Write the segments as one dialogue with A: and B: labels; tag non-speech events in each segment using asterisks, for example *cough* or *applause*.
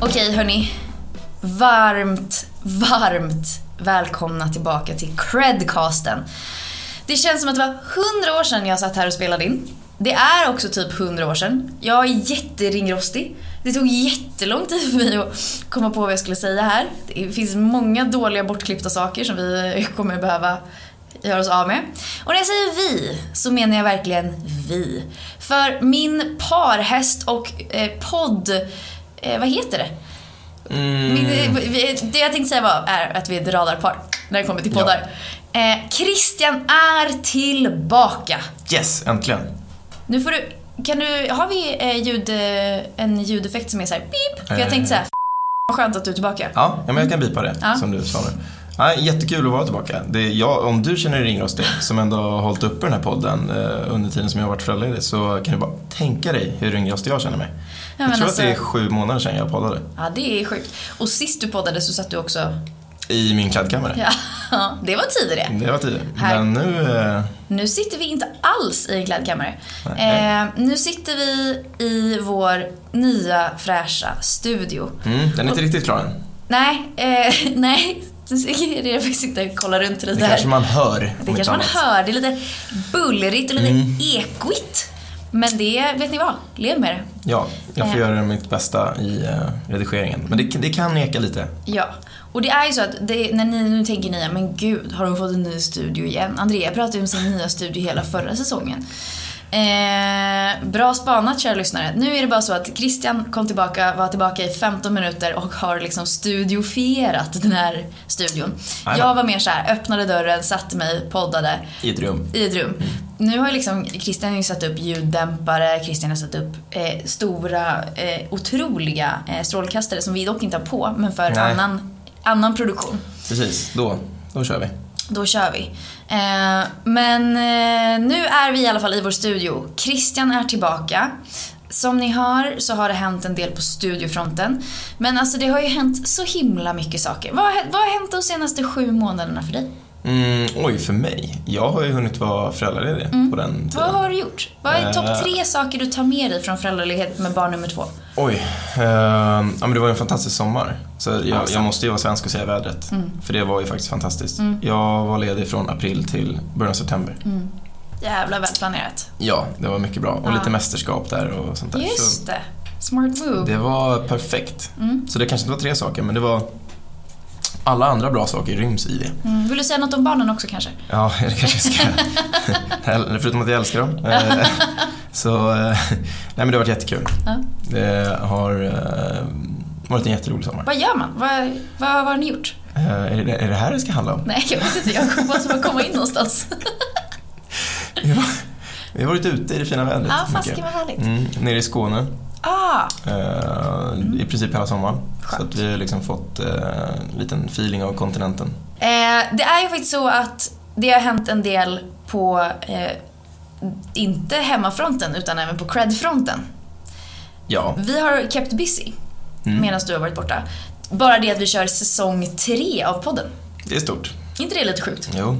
A: Okej hörni. Varmt, varmt välkomna tillbaka till Credcasten. Det känns som att det var 100 år sedan jag satt här och spelade in. Det är också typ 100 år sedan. Jag är jätteringrostig. Det tog jättelång tid för mig att komma på vad jag skulle säga här. Det finns många dåliga bortklippta saker som vi kommer behöva göra oss av med. Och när jag säger vi så menar jag verkligen vi. För min parhäst och eh, podd... Eh, vad heter det?
B: Mm,
A: Min, eh, vi- det jag tänkte säga var är att vi är ett radarpar när det kommer till poddar. Eh, Christian är tillbaka.
B: Yes, äntligen.
A: Nu får du, kan du, har vi eh, ljud, eh, en ljudeffekt som är så här beep? För jag
B: Eh.
A: tänkte så här, "F- vad skönt att du är tillbaka.
B: Ja, ja men jag kan bipa det
A: Ja.
B: som du sa nu. Ja, jättekul att vara tillbaka. Det är jag, om du känner dig ringrostig, som ändå har hållit uppe den här podden eh, under tiden som jag har varit föräldraledig, så kan du bara tänka dig hur ringrostig jag känner mig.
A: men
B: jag tror
A: alltså-
B: att det är sju månader sedan jag poddade.
A: Ja, det är sjukt. Och sist du poddade så satt du också, *laughs*
B: I min kladdkammare.
A: ja, det var tid i det.
B: Det var tidigare.
A: Här.
B: Men nu... Eh,
A: Nu sitter vi inte alls i glädjekammare.
B: Nej.
A: Eh, nu sitter vi i vår nya fräscha studio.
B: mm, den är inte riktigt klar än.
A: Nej, eh, *laughs* nej. Det är det jag fick sitta och kolla runt lite
B: Det
A: här.
B: kanske man hör. om
A: det
B: inte
A: kanske man
B: annat. Mm.
A: hör. Det är lite bullrigt och lite ekoigt. Men det, vet ni vad? Lev med det.
B: Ja, jag får
A: Eh.
B: göra mitt bästa i eh, redigeringen. Men det, det kan eka lite.
A: Ja. Och det är ju så att det, när ni, nu tänker ni men gud, har hon fått en ny studio igen? Andrea pratade ju om sin nya studio hela förra säsongen. Eh, bra spanat kära lyssnare. Nu är det bara så att Christian kom tillbaka, var tillbaka i 15 minuter och har liksom studiofierat den här studion.
B: Jajamän.
A: Jag var mer så här, öppnade dörren, satte mig, poddade
B: I ett rum.
A: i ett rum. Nu har ju liksom Christian ju satt upp ljuddämpare, Christian har satt upp eh, stora, eh, otroliga eh, strålkastare som vi dock inte har på, men för
B: Nej.
A: annan, annan produktion.
B: Precis, då, då kör vi.
A: Då kör vi. Eh, men eh, nu är vi i alla fall i vår studio. Christian är tillbaka. Som ni hör så har det hänt en del på studiofronten. Men alltså det har ju hänt så himla mycket saker. Vad, har hä- vad har hänt de senaste sju månaderna för dig?
B: Mm, oj, för mig. Jag har ju hunnit vara föräldraledig på den
A: Vad
B: tiden.
A: har du gjort? Vad är
B: Eh.
A: topp tre saker du tar med dig från föräldraledighet med barn nummer två?
B: Oj. ehm, ja, men det var ju en fantastisk sommar. Så jag,
A: Alltså.
B: jag måste ju vara svensk och säga vädret. För det var ju faktiskt fantastiskt. Jag var ledig från april till början av september.
A: Mm. Jävla välplanerat.
B: Ja, det var mycket bra. Och
A: Ja.
B: lite mästerskap där och sånt där.
A: Just
B: Så
A: det. Smart move.
B: det var perfekt. Så det kanske inte var tre saker, men det var... Alla andra bra saker ryms i det.
A: Mm. Vill du säga något om barnen också kanske?
B: Ja, *laughs* det kanske jag ska.
A: *laughs*
B: Eller, Förutom att jag älskar dem. Eh, Så, eh, nej men det har varit jättekul.
A: Ja.
B: Det har eh, varit en jätterolig sommar.
A: Vad gör man? Vad, vad, vad har ni gjort?
B: Eh, Är det, är det här det ska handla om?
A: Nej, jag vet inte. Jag kom bara som att komma in
B: *laughs*
A: någonstans.
B: Vi har- Vi har varit ute i det fina vädret.
A: Ja,
B: mycket.
A: fasken vad härligt.
B: Mm, nere i Skåne
A: Ah,
B: eh, i princip hela sommaren. Så
A: Mm. Skönt.
B: att vi har liksom fått eh, en liten feeling av kontinenten.
A: eh, det är ju faktiskt så att det har hänt en del på, eh, inte hemmafronten, utan även på credfronten.
B: Ja.
A: Vi har kept busy
B: Mm.
A: medan du har varit borta. Bara det att vi kör säsong tre av podden.
B: Det är stort.
A: inte det lite sjukt?
B: Jo,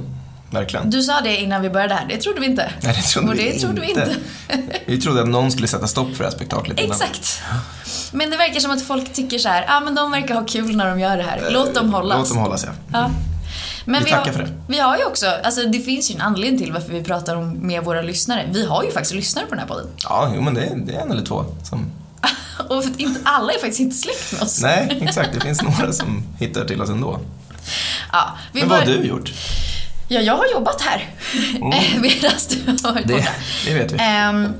B: verkligen.
A: Du sa det innan vi började här, det trodde vi inte.
B: Nej, det trodde,
A: Och
B: vi,
A: det
B: inte.
A: trodde vi inte.
B: Vi trodde att någon skulle sätta stopp för det här spektaklet innan.
A: Exakt. Men det verkar som att folk tycker så här, ah, men de verkar ha kul när de gör det här. Låt dem hållas.
B: Låt dem hållas, ja.
A: Ja. Men
B: Vi tackar
A: har,
B: för det.
A: Vi har ju också, alltså det finns ju en anledning till varför vi pratar om med våra lyssnare. Vi har ju faktiskt lyssnare på den här podden. *laughs*
B: Ja, jo, men det, är- det är en eller två som...
A: Och för att inte, alla är faktiskt inte släkt med oss.
B: Nej, *laughs* exakt. Det finns några som hittar till oss ändå.
A: Ja, vi
B: Men vad har
A: bara-
B: du gjort?
A: Ja, jag har jobbat här.
B: Mm.
A: *laughs* Medan du har varit
B: Det,
A: borta.
B: det vet vi.
A: Ehm,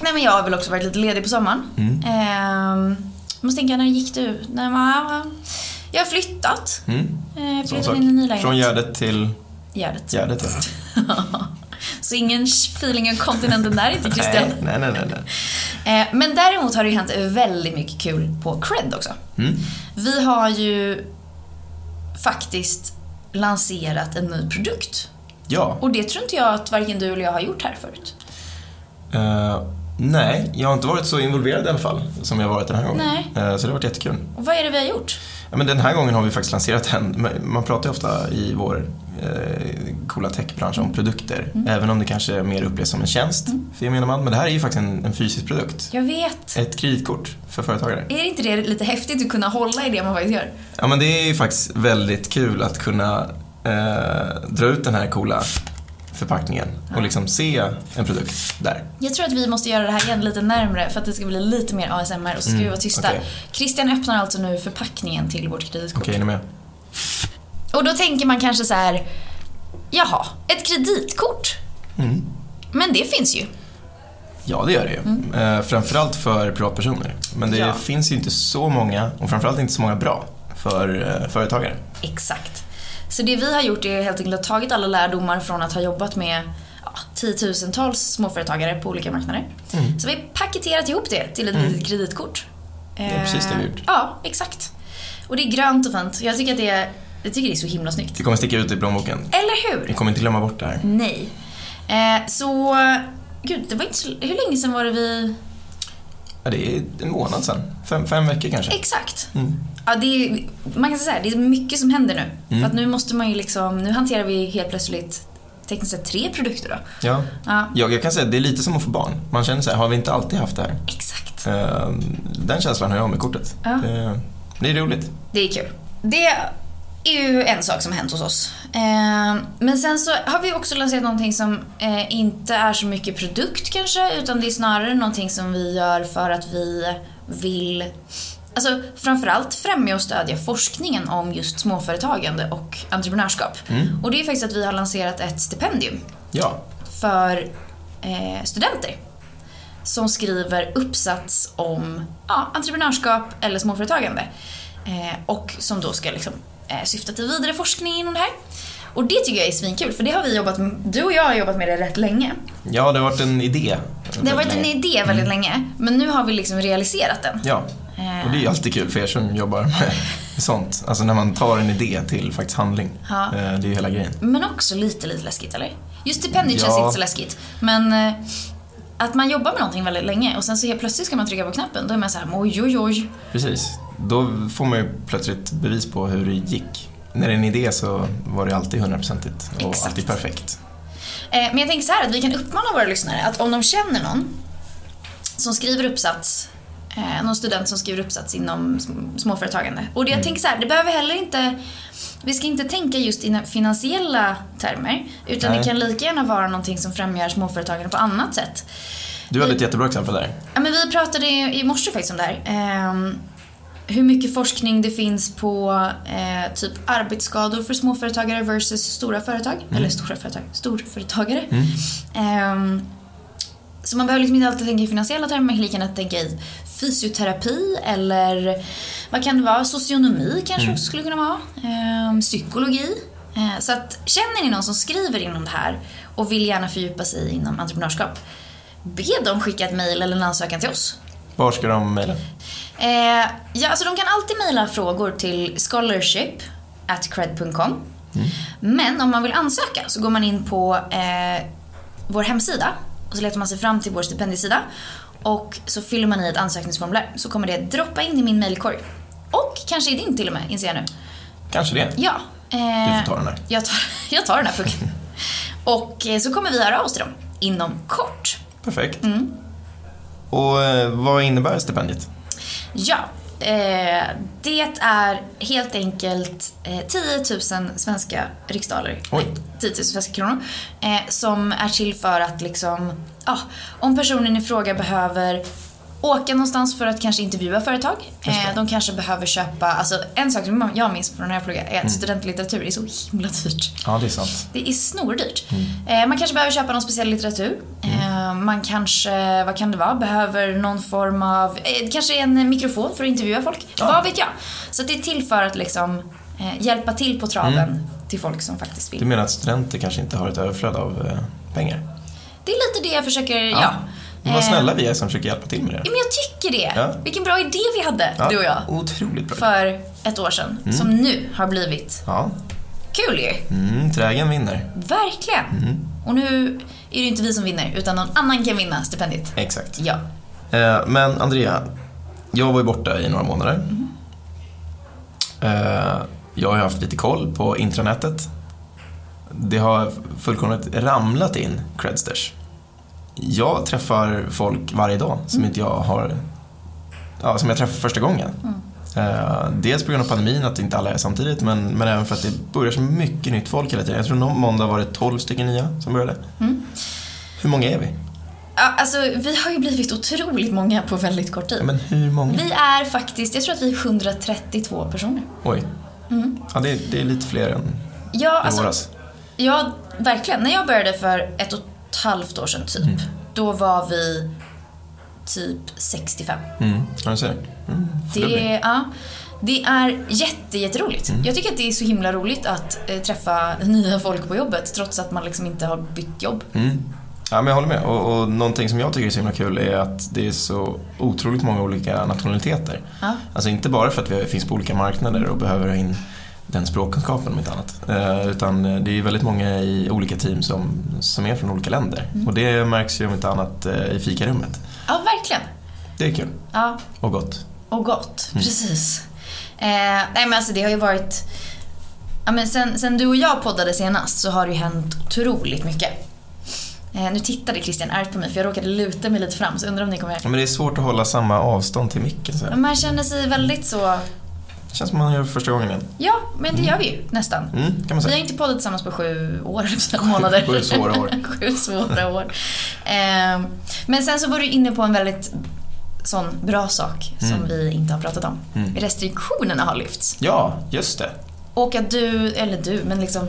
A: nej men jag har väl också varit lite ledig på sommaren.
B: Mm.
A: Ehm, måste tänka, när gick du? När man, jag har flyttat.
B: Mm.
A: Eh,
B: Sån
A: flyttat
B: sak.
A: in i en ny lägenhet.
B: Från Gärdet till
A: Gärdet.
B: Gärdet, ja.
A: *laughs* Så ingen feeling av kontinenten där inte Christian.
B: Nej, nej, nej. nej, nej.
A: Eh, Men däremot har det ju hänt väldigt mycket kul på cred också.
B: Mm.
A: Vi har ju faktiskt lanserat en ny produkt.
B: Ja.
A: Och det tror inte jag att varken du eller jag har gjort här förut.
B: Eh, nej, jag har inte varit så involverad i alla fall som jag har varit den här gången.
A: Nej.
B: Eh, så det har varit jättekul.
A: Och vad är det vi har gjort?
B: Ja, men den här gången har vi faktiskt lanserat en. men Man pratar ju ofta i vår eh, coola techbranschen om produkter.
A: Mm.
B: Även om det kanske mer upplevs som en tjänst för gemene man. Men det här är ju faktiskt en, en fysisk produkt.
A: Jag vet.
B: Ett kreditkort för företagare.
A: Är inte det lite häftigt att kunna hålla i det man faktiskt gör?
B: Ja, men det är ju faktiskt väldigt kul att kunna eh, dra ut den här coola förpackningen och liksom se en produkt där.
A: Jag tror att vi måste göra det här igen lite närmre för att det ska bli lite mer ASMR och så ska vi vara tysta.
B: Mm, okej.
A: Christian öppnar alltså nu förpackningen till vårt kreditkort.
B: Okej, är ni med?
A: Och då tänker man kanske så här, jaha, ett kreditkort?
B: Mm.
A: Men det finns ju.
B: Ja, det gör det ju. Eh, framförallt för privatpersoner. Men det
A: Mm. Ja.
B: finns ju inte så många, och framförallt inte så många bra, för eh, företagare.
A: Exakt. Så det vi har gjort är helt enkelt att tagit alla lärdomar från att ha jobbat med ja, tiotusentals småföretagare på olika marknader.
B: Mm.
A: Så vi har paketerat ihop det till ett litet kreditkort. Det
B: är precis Mm. det vi har gjort.
A: Ja, exakt. Och det är grönt och fint. Jag tycker att det är, jag tycker det är så himla snyggt.
B: Det kommer sticka ut i plånboken.
A: Eller hur?
B: Ni kommer inte glömma bort det här.
A: Nej. Eh, så, gud, det var inte så, hur länge sedan var det vi...
B: Ja, det är en månad sedan. Fem, fem veckor kanske.
A: Exakt.
B: Mm.
A: Ja, det är, man kan säga så här, det är mycket som händer nu. För att nu måste man ju liksom, nu hanterar vi helt plötsligt tekniskt sett tre produkter då.
B: Ja.
A: Ja,
B: Jag, jag kan säga att det är lite som att få barn. Man känner så här, har vi inte alltid haft det här?
A: exakt.
B: Eh, den känslan har jag med kortet.
A: Ja.
B: Det, det är roligt.
A: Det är kul. Det är ju en sak som hänt hos oss. Eh, men sen så har vi också lanserat någonting som eh, inte är så mycket produkt kanske, utan det är snarare någonting som vi gör för att vi vill Alltså framförallt främja och stödja forskningen om just småföretagande och entreprenörskap. Och det är faktiskt att vi har lanserat ett stipendium
B: Ja,
A: för eh, studenter som skriver uppsats om ja, entreprenörskap eller småföretagande. Eh, och som då ska liksom, eh, syfta till vidare forskning inom det här. Och det tycker jag är svinkul för det har vi jobbat med, du och jag har jobbat med det rätt länge.
B: ja det har varit en idé.
A: Det har varit en idé väldigt länge Mm. men nu har vi liksom realiserat den. Eh,
B: Ja, och det är ju alltid kul för er som jobbar med sånt. Alltså när man tar en idé till faktiskt handling.
A: Ja.
B: Eh, Det är ju hela grejen.
A: Men också lite, lite läskigt eller? Just stipendiet känns
B: Ja.
A: inte så läskigt men eh, att man jobbar med någonting väldigt länge och sen så helt plötsligt ska man trycka på knappen då är man så här oj oj oj.
B: Precis. Då får man ju plötsligt bevis på hur det gick. När det är en idé så var det alltid hundraprocentigt och
A: Exakt.
B: alltid perfekt.
A: Eh, Men jag tänker så här att vi kan uppmana våra lyssnare att om de känner någon som skriver uppsats, eh, någon student som skriver uppsats inom sm- småföretagande. Och det,
B: Mm.
A: jag tänker så här, det behöver heller inte, vi ska inte tänka just i finansiella termer. Utan
B: Nej.
A: det kan lika gärna vara någonting som främjar småföretagande på annat sätt.
B: Du hade ett jättebra exempel där.
A: Ja, men vi pratade i i morse faktiskt om det här. Ehm, hur mycket forskning det finns på eh, typ arbetsskador för småföretagare versus stora företag. Eller stora företag, storföretagare. Ehm, så man behöver liksom inte alltid tänka i finansiella termer, man kan lika gärna tänka i fysioterapi eller vad kan det vara, socionomi kanske också skulle kunna vara, Ehm, psykologi. Eh, så att känner ni någon som skriver inom det här och vill gärna fördjupa sig inom entreprenörskap, be dem skicka ett mejl eller en ansökan till oss.
B: Var ska de mejla?
A: Eh, ja, alltså de kan alltid mejla frågor till scholarship
B: Mm.
A: Men om man vill ansöka så går man in på eh, vår hemsida och så letar man sig fram till vår stipendiesida och så fyller man i ett ansökningsformulär så kommer det droppa in i min mejlkorg. Och kanske i din till och med, inser jag nu.
B: Kanske det.
A: Ja. eh,
B: Du får ta den här.
A: Jag tar, *laughs* jag tar den här
B: *laughs*
A: pucken. och eh, så kommer vi höra av oss till dem inom kort.
B: Perfekt.
A: Mm.
B: Och eh, vad innebär stipendiet?
A: Ja, eh, det är helt enkelt eh, 10 000 svenska riksdaler.
B: Oj.
A: Nej, 10 000 svenska kronor. Eh, som är till för att liksom, ja, om personen i fråga behöver åka någonstans för att kanske intervjua företag.
B: Just det.
A: Eh, de kanske behöver köpa, alltså en sak som jag minns från när jag pluggade är att
B: Mm.
A: studentlitteratur är så himla dyrt.
B: Ja, det är sant.
A: Det är snordyrt.
B: Mm.
A: Eh, man kanske behöver köpa någon speciell litteratur. Eh, man kanske, vad kan det vara, behöver någon form av, eh, kanske en mikrofon för att intervjua folk. Vad vet jag? Så det är till för att liksom eh, hjälpa till på traven
B: Mm.
A: till folk som faktiskt
B: Du
A: vill.
B: menar att studenter kanske inte har ett överflöd av eh, pengar?
A: Det är lite det jag försöker, ja.
B: Men vad
A: Eh,
B: snälla vi är som försöker hjälpa till med det.
A: ja, men jag tycker det.
B: Ja.
A: Vilken bra idé vi hade,
B: Ja, Mm.
A: du och jag,
B: Otroligt bra.
A: för ett år sedan. Som nu har blivit
B: Ja.
A: kul ju.
B: Mm, trägen vinner.
A: Verkligen.
B: Mm.
A: Och nu är det inte vi som vinner, utan någon annan kan vinna stipendiet.
B: Exakt.
A: Ja.
B: Eh, Men Andrea, jag var ju borta i några månader. Eh, Jag har ju haft lite koll på intranätet. det har fullkomligt ramlat in credsters. Jag träffar folk varje dag som inte jag har ja, som jag träffar första gången. Eh, dels på grund av pandemin, att inte alla är samtidigt, men, men även för att det börjar så mycket nytt folk hela tiden. Jag tror någon måndag var det 12 stycken nya som började. Hur många är vi?
A: Ja, alltså, vi har ju blivit otroligt många på väldigt kort
B: Ja,
A: tid.
B: men hur många?
A: Vi är faktiskt, jag tror att vi är 132 personer.
B: Oj. Ja, det, är- det är lite fler än
A: Ja,
B: i
A: Mm. alltså,
B: våras.
A: ja, verkligen. När jag började för ett och ett halvt år sedan typ, då var vi typ 65.
B: Mm. Ja, du ser. Mm. fördubbling.
A: Det, ja, det är jätte, jätteroligt. Jag tycker att det är så himla roligt att eh, träffa *laughs* nya folk på jobbet trots att man liksom inte har bytt jobb.
B: Mm. Ja, men jag håller med. Och, och någonting som jag tycker är så himla kul är att det är så otroligt många olika nationaliteter.
A: Ja.
B: Alltså inte bara för att vi finns på olika marknader och behöver ha in den språkkunskapen om inte annat. Eh, utan det är ju väldigt många i olika team som, som är från olika länder.
A: Mm.
B: Och det märks ju om inte annat eh, i fikarummet.
A: Ja, verkligen.
B: Det är kul
A: Ja,
B: och gott.
A: och gott.
B: Mm.
A: Precis. Eh, nej men alltså det har ju varit... Ja, men sen, sen du och jag poddade senast så har det ju hänt otroligt mycket. Eh, nu tittade Christian argt på mig för jag råkade luta mig lite fram så undrar om ni kommer
B: Ja,
A: ihåg.
B: men det är svårt att hålla samma avstånd till micken. Så här.
A: Men Man känner sig väldigt så...
B: Det känns som man gör första gången igen.
A: Ja, men det gör vi ju nästan.
B: Mm, kan man
A: Vi har
B: säga.
A: inte poddat tillsammans på sju år, eller månader.
B: Sju svåra år.
A: *laughs* sju svåra år. Ehm, men sen så var du inne på en väldigt sån bra sak som
B: Mm.
A: vi inte har pratat om.
B: Mm.
A: Restriktionerna har lyfts.
B: Ja, just det.
A: Och att du, eller du, men liksom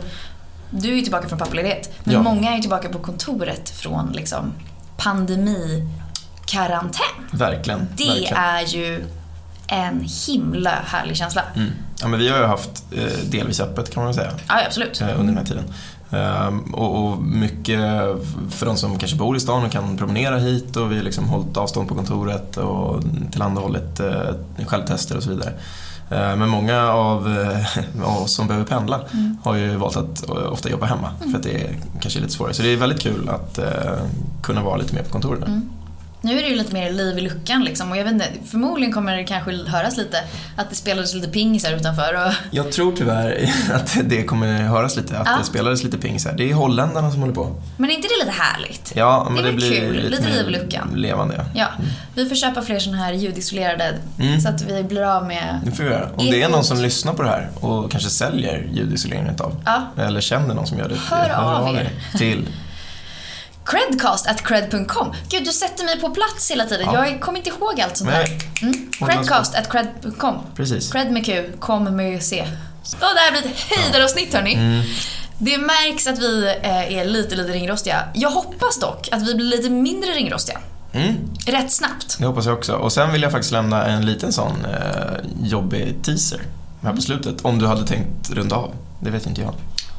A: du är ju tillbaka från pappaledighet. Men
B: Ja.
A: många är ju tillbaka på kontoret från liksom pandemikarantän.
B: Verkligen.
A: Det
B: verkligen.
A: är ju en himla härlig känsla.
B: Mm. Ja, men vi har ju haft eh, delvis öppet kan man väl säga
A: Ja, absolut.
B: eh, under den här tiden. Ehm, och, och mycket för de som kanske bor i stan och kan promenera hit och vi har liksom hållit avstånd på kontoret och tillhandahållit eh, självtester och så vidare. Ehm, Men många av eh, av oss som behöver pendla
A: Mm.
B: har ju valt att eh, ofta jobba hemma för att det är kanske är lite svårare. Så det är väldigt kul att eh, kunna vara lite mer på kontoret nu.
A: Nu är det ju lite mer liv i luckan liksom och jag vet inte, förmodligen kommer det kanske höras lite att det spelades lite pingis här utanför och
B: Jag tror tyvärr *laughs* att det kommer höras lite, att
A: Ja.
B: det spelades lite pingis här. Det är holländarna som håller på.
A: Men är inte det lite härligt?
B: Ja, men
A: är
B: det,
A: väl
B: blir
A: kul, lite
B: mer
A: liv i luckan.
B: Levande, ja.
A: Ja, vi får köpa fler sådana här ljudisolerade
B: Mm.
A: så att vi blir av med...
B: Det får vi göra. Om
A: Är
B: det är
A: det-
B: någon som lyssnar på det här och kanske säljer ljudisolering utav,
A: Ja.
B: eller känner någon som gör det,
A: Hör av er. *laughs*
B: till.
A: Credcast at cred.com. Gud, du sätter mig på plats hela tiden.
B: Ja.
A: Jag kommer inte ihåg allt sånt
B: Nej,
A: där. Mm.
B: Och
A: Credcast at cred.com.
B: precis.
A: Cred med Q, kom med C. Och det här blir ett höjdaravsnitt hörni.
B: Mm.
A: Det märks att vi eh, är lite, lite ringrostiga. Jag hoppas dock att vi blir lite mindre ringrostiga.
B: Mm,
A: Rätt snabbt.
B: det hoppas jag också. Och sen vill jag faktiskt lämna en liten sån eh, jobbig teaser här
A: Mm.
B: på slutet. Om du hade tänkt runda av. Det vet inte jag.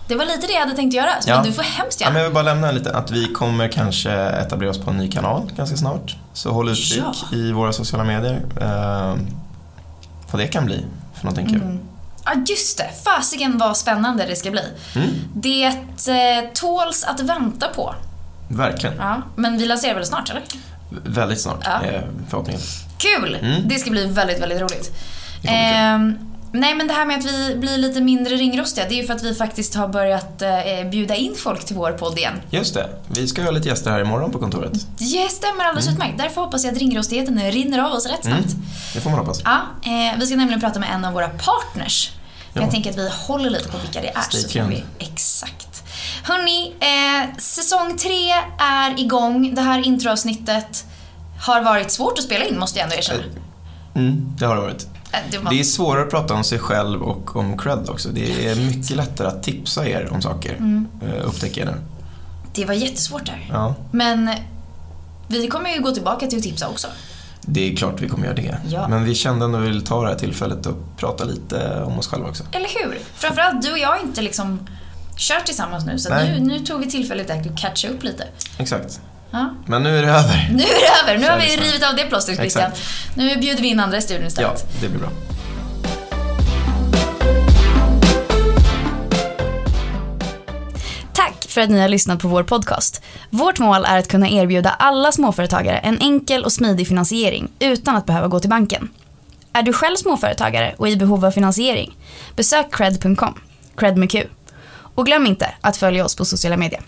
A: Det var lite det jag hade tänkt göra, så
B: Ja.
A: men du får hemskt
B: Ja,
A: gärna.
B: men jag vill bara lämna en liten, att vi kommer kanske etablera oss på en ny kanal ganska snart. Så håll utkik
A: Ja.
B: i våra sociala medier. Eh, vad det kan bli för någonting kul.
A: Mm. Ja, just det. Fasiken vad spännande det ska bli.
B: Mm,
A: Det eh, tåls att vänta på.
B: verkligen.
A: Ja, men vi lanserar väl snart, eller?
B: Väldigt snart,
A: Ja.
B: eh, förhoppningen.
A: Kul!
B: Mm.
A: Det ska bli väldigt, väldigt roligt.
B: Det kommer bli kul.
A: Ehm, nej, men det här med att vi blir lite mindre ringrostiga, det är ju för att vi faktiskt har börjat eh, bjuda in folk till vår podd igen.
B: Just det, vi ska ha lite gäster här imorgon på kontoret.
A: Det stämmer alldeles utmärkt. Därför hoppas jag att ringrostigheten rinner av oss rätt
B: Mm.
A: snabbt.
B: Det får man hoppas.
A: Ja, eh, vi ska nämligen prata med en av våra partners. Men
B: Ja.
A: jag tänker att vi håller lite på vilka det är.
B: Stay
A: så får
B: tuned.
A: vi, exakt. Hörni, eh, säsong tre är igång. Det här introavsnittet har varit svårt att spela in, måste jag ändå erkänna.
B: Mm, det har det varit.
A: Eh, det var-
B: Eh, Det är svårare att prata om sig själv och om cred också. Det är mycket lättare att tipsa er om saker, eh, upptäcker jag nu.
A: det var jättesvårt där.
B: Ja,
A: Men vi kommer ju gå tillbaka till att tipsa också.
B: det är klart vi kommer göra det.
A: Ja.
B: Men vi kände ändå att vi ville ta det här tillfället och prata lite om oss själva också.
A: Eller hur? Framförallt du och jag har inte liksom kört tillsammans nu, så att nu,
B: Nej.
A: nu tog vi tillfället i akt att catcha upp lite.
B: Exakt.
A: Ja.
B: Men nu är det över.
A: Nu är det över, nu har vi
B: Kärleksnamn.
A: rivit av det plåstret Christian. Nu bjuder vi in andra i studion
B: Ja,
A: istället.
B: det blir bra.
A: Tack för att ni har lyssnat på vår podcast. Vårt mål är att kunna erbjuda alla småföretagare en enkel och smidig finansiering utan att behöva gå till banken. Är du själv småföretagare och i behov av finansiering? Besök cred.com, cred med Q. Och glöm inte att följa oss på sociala medier.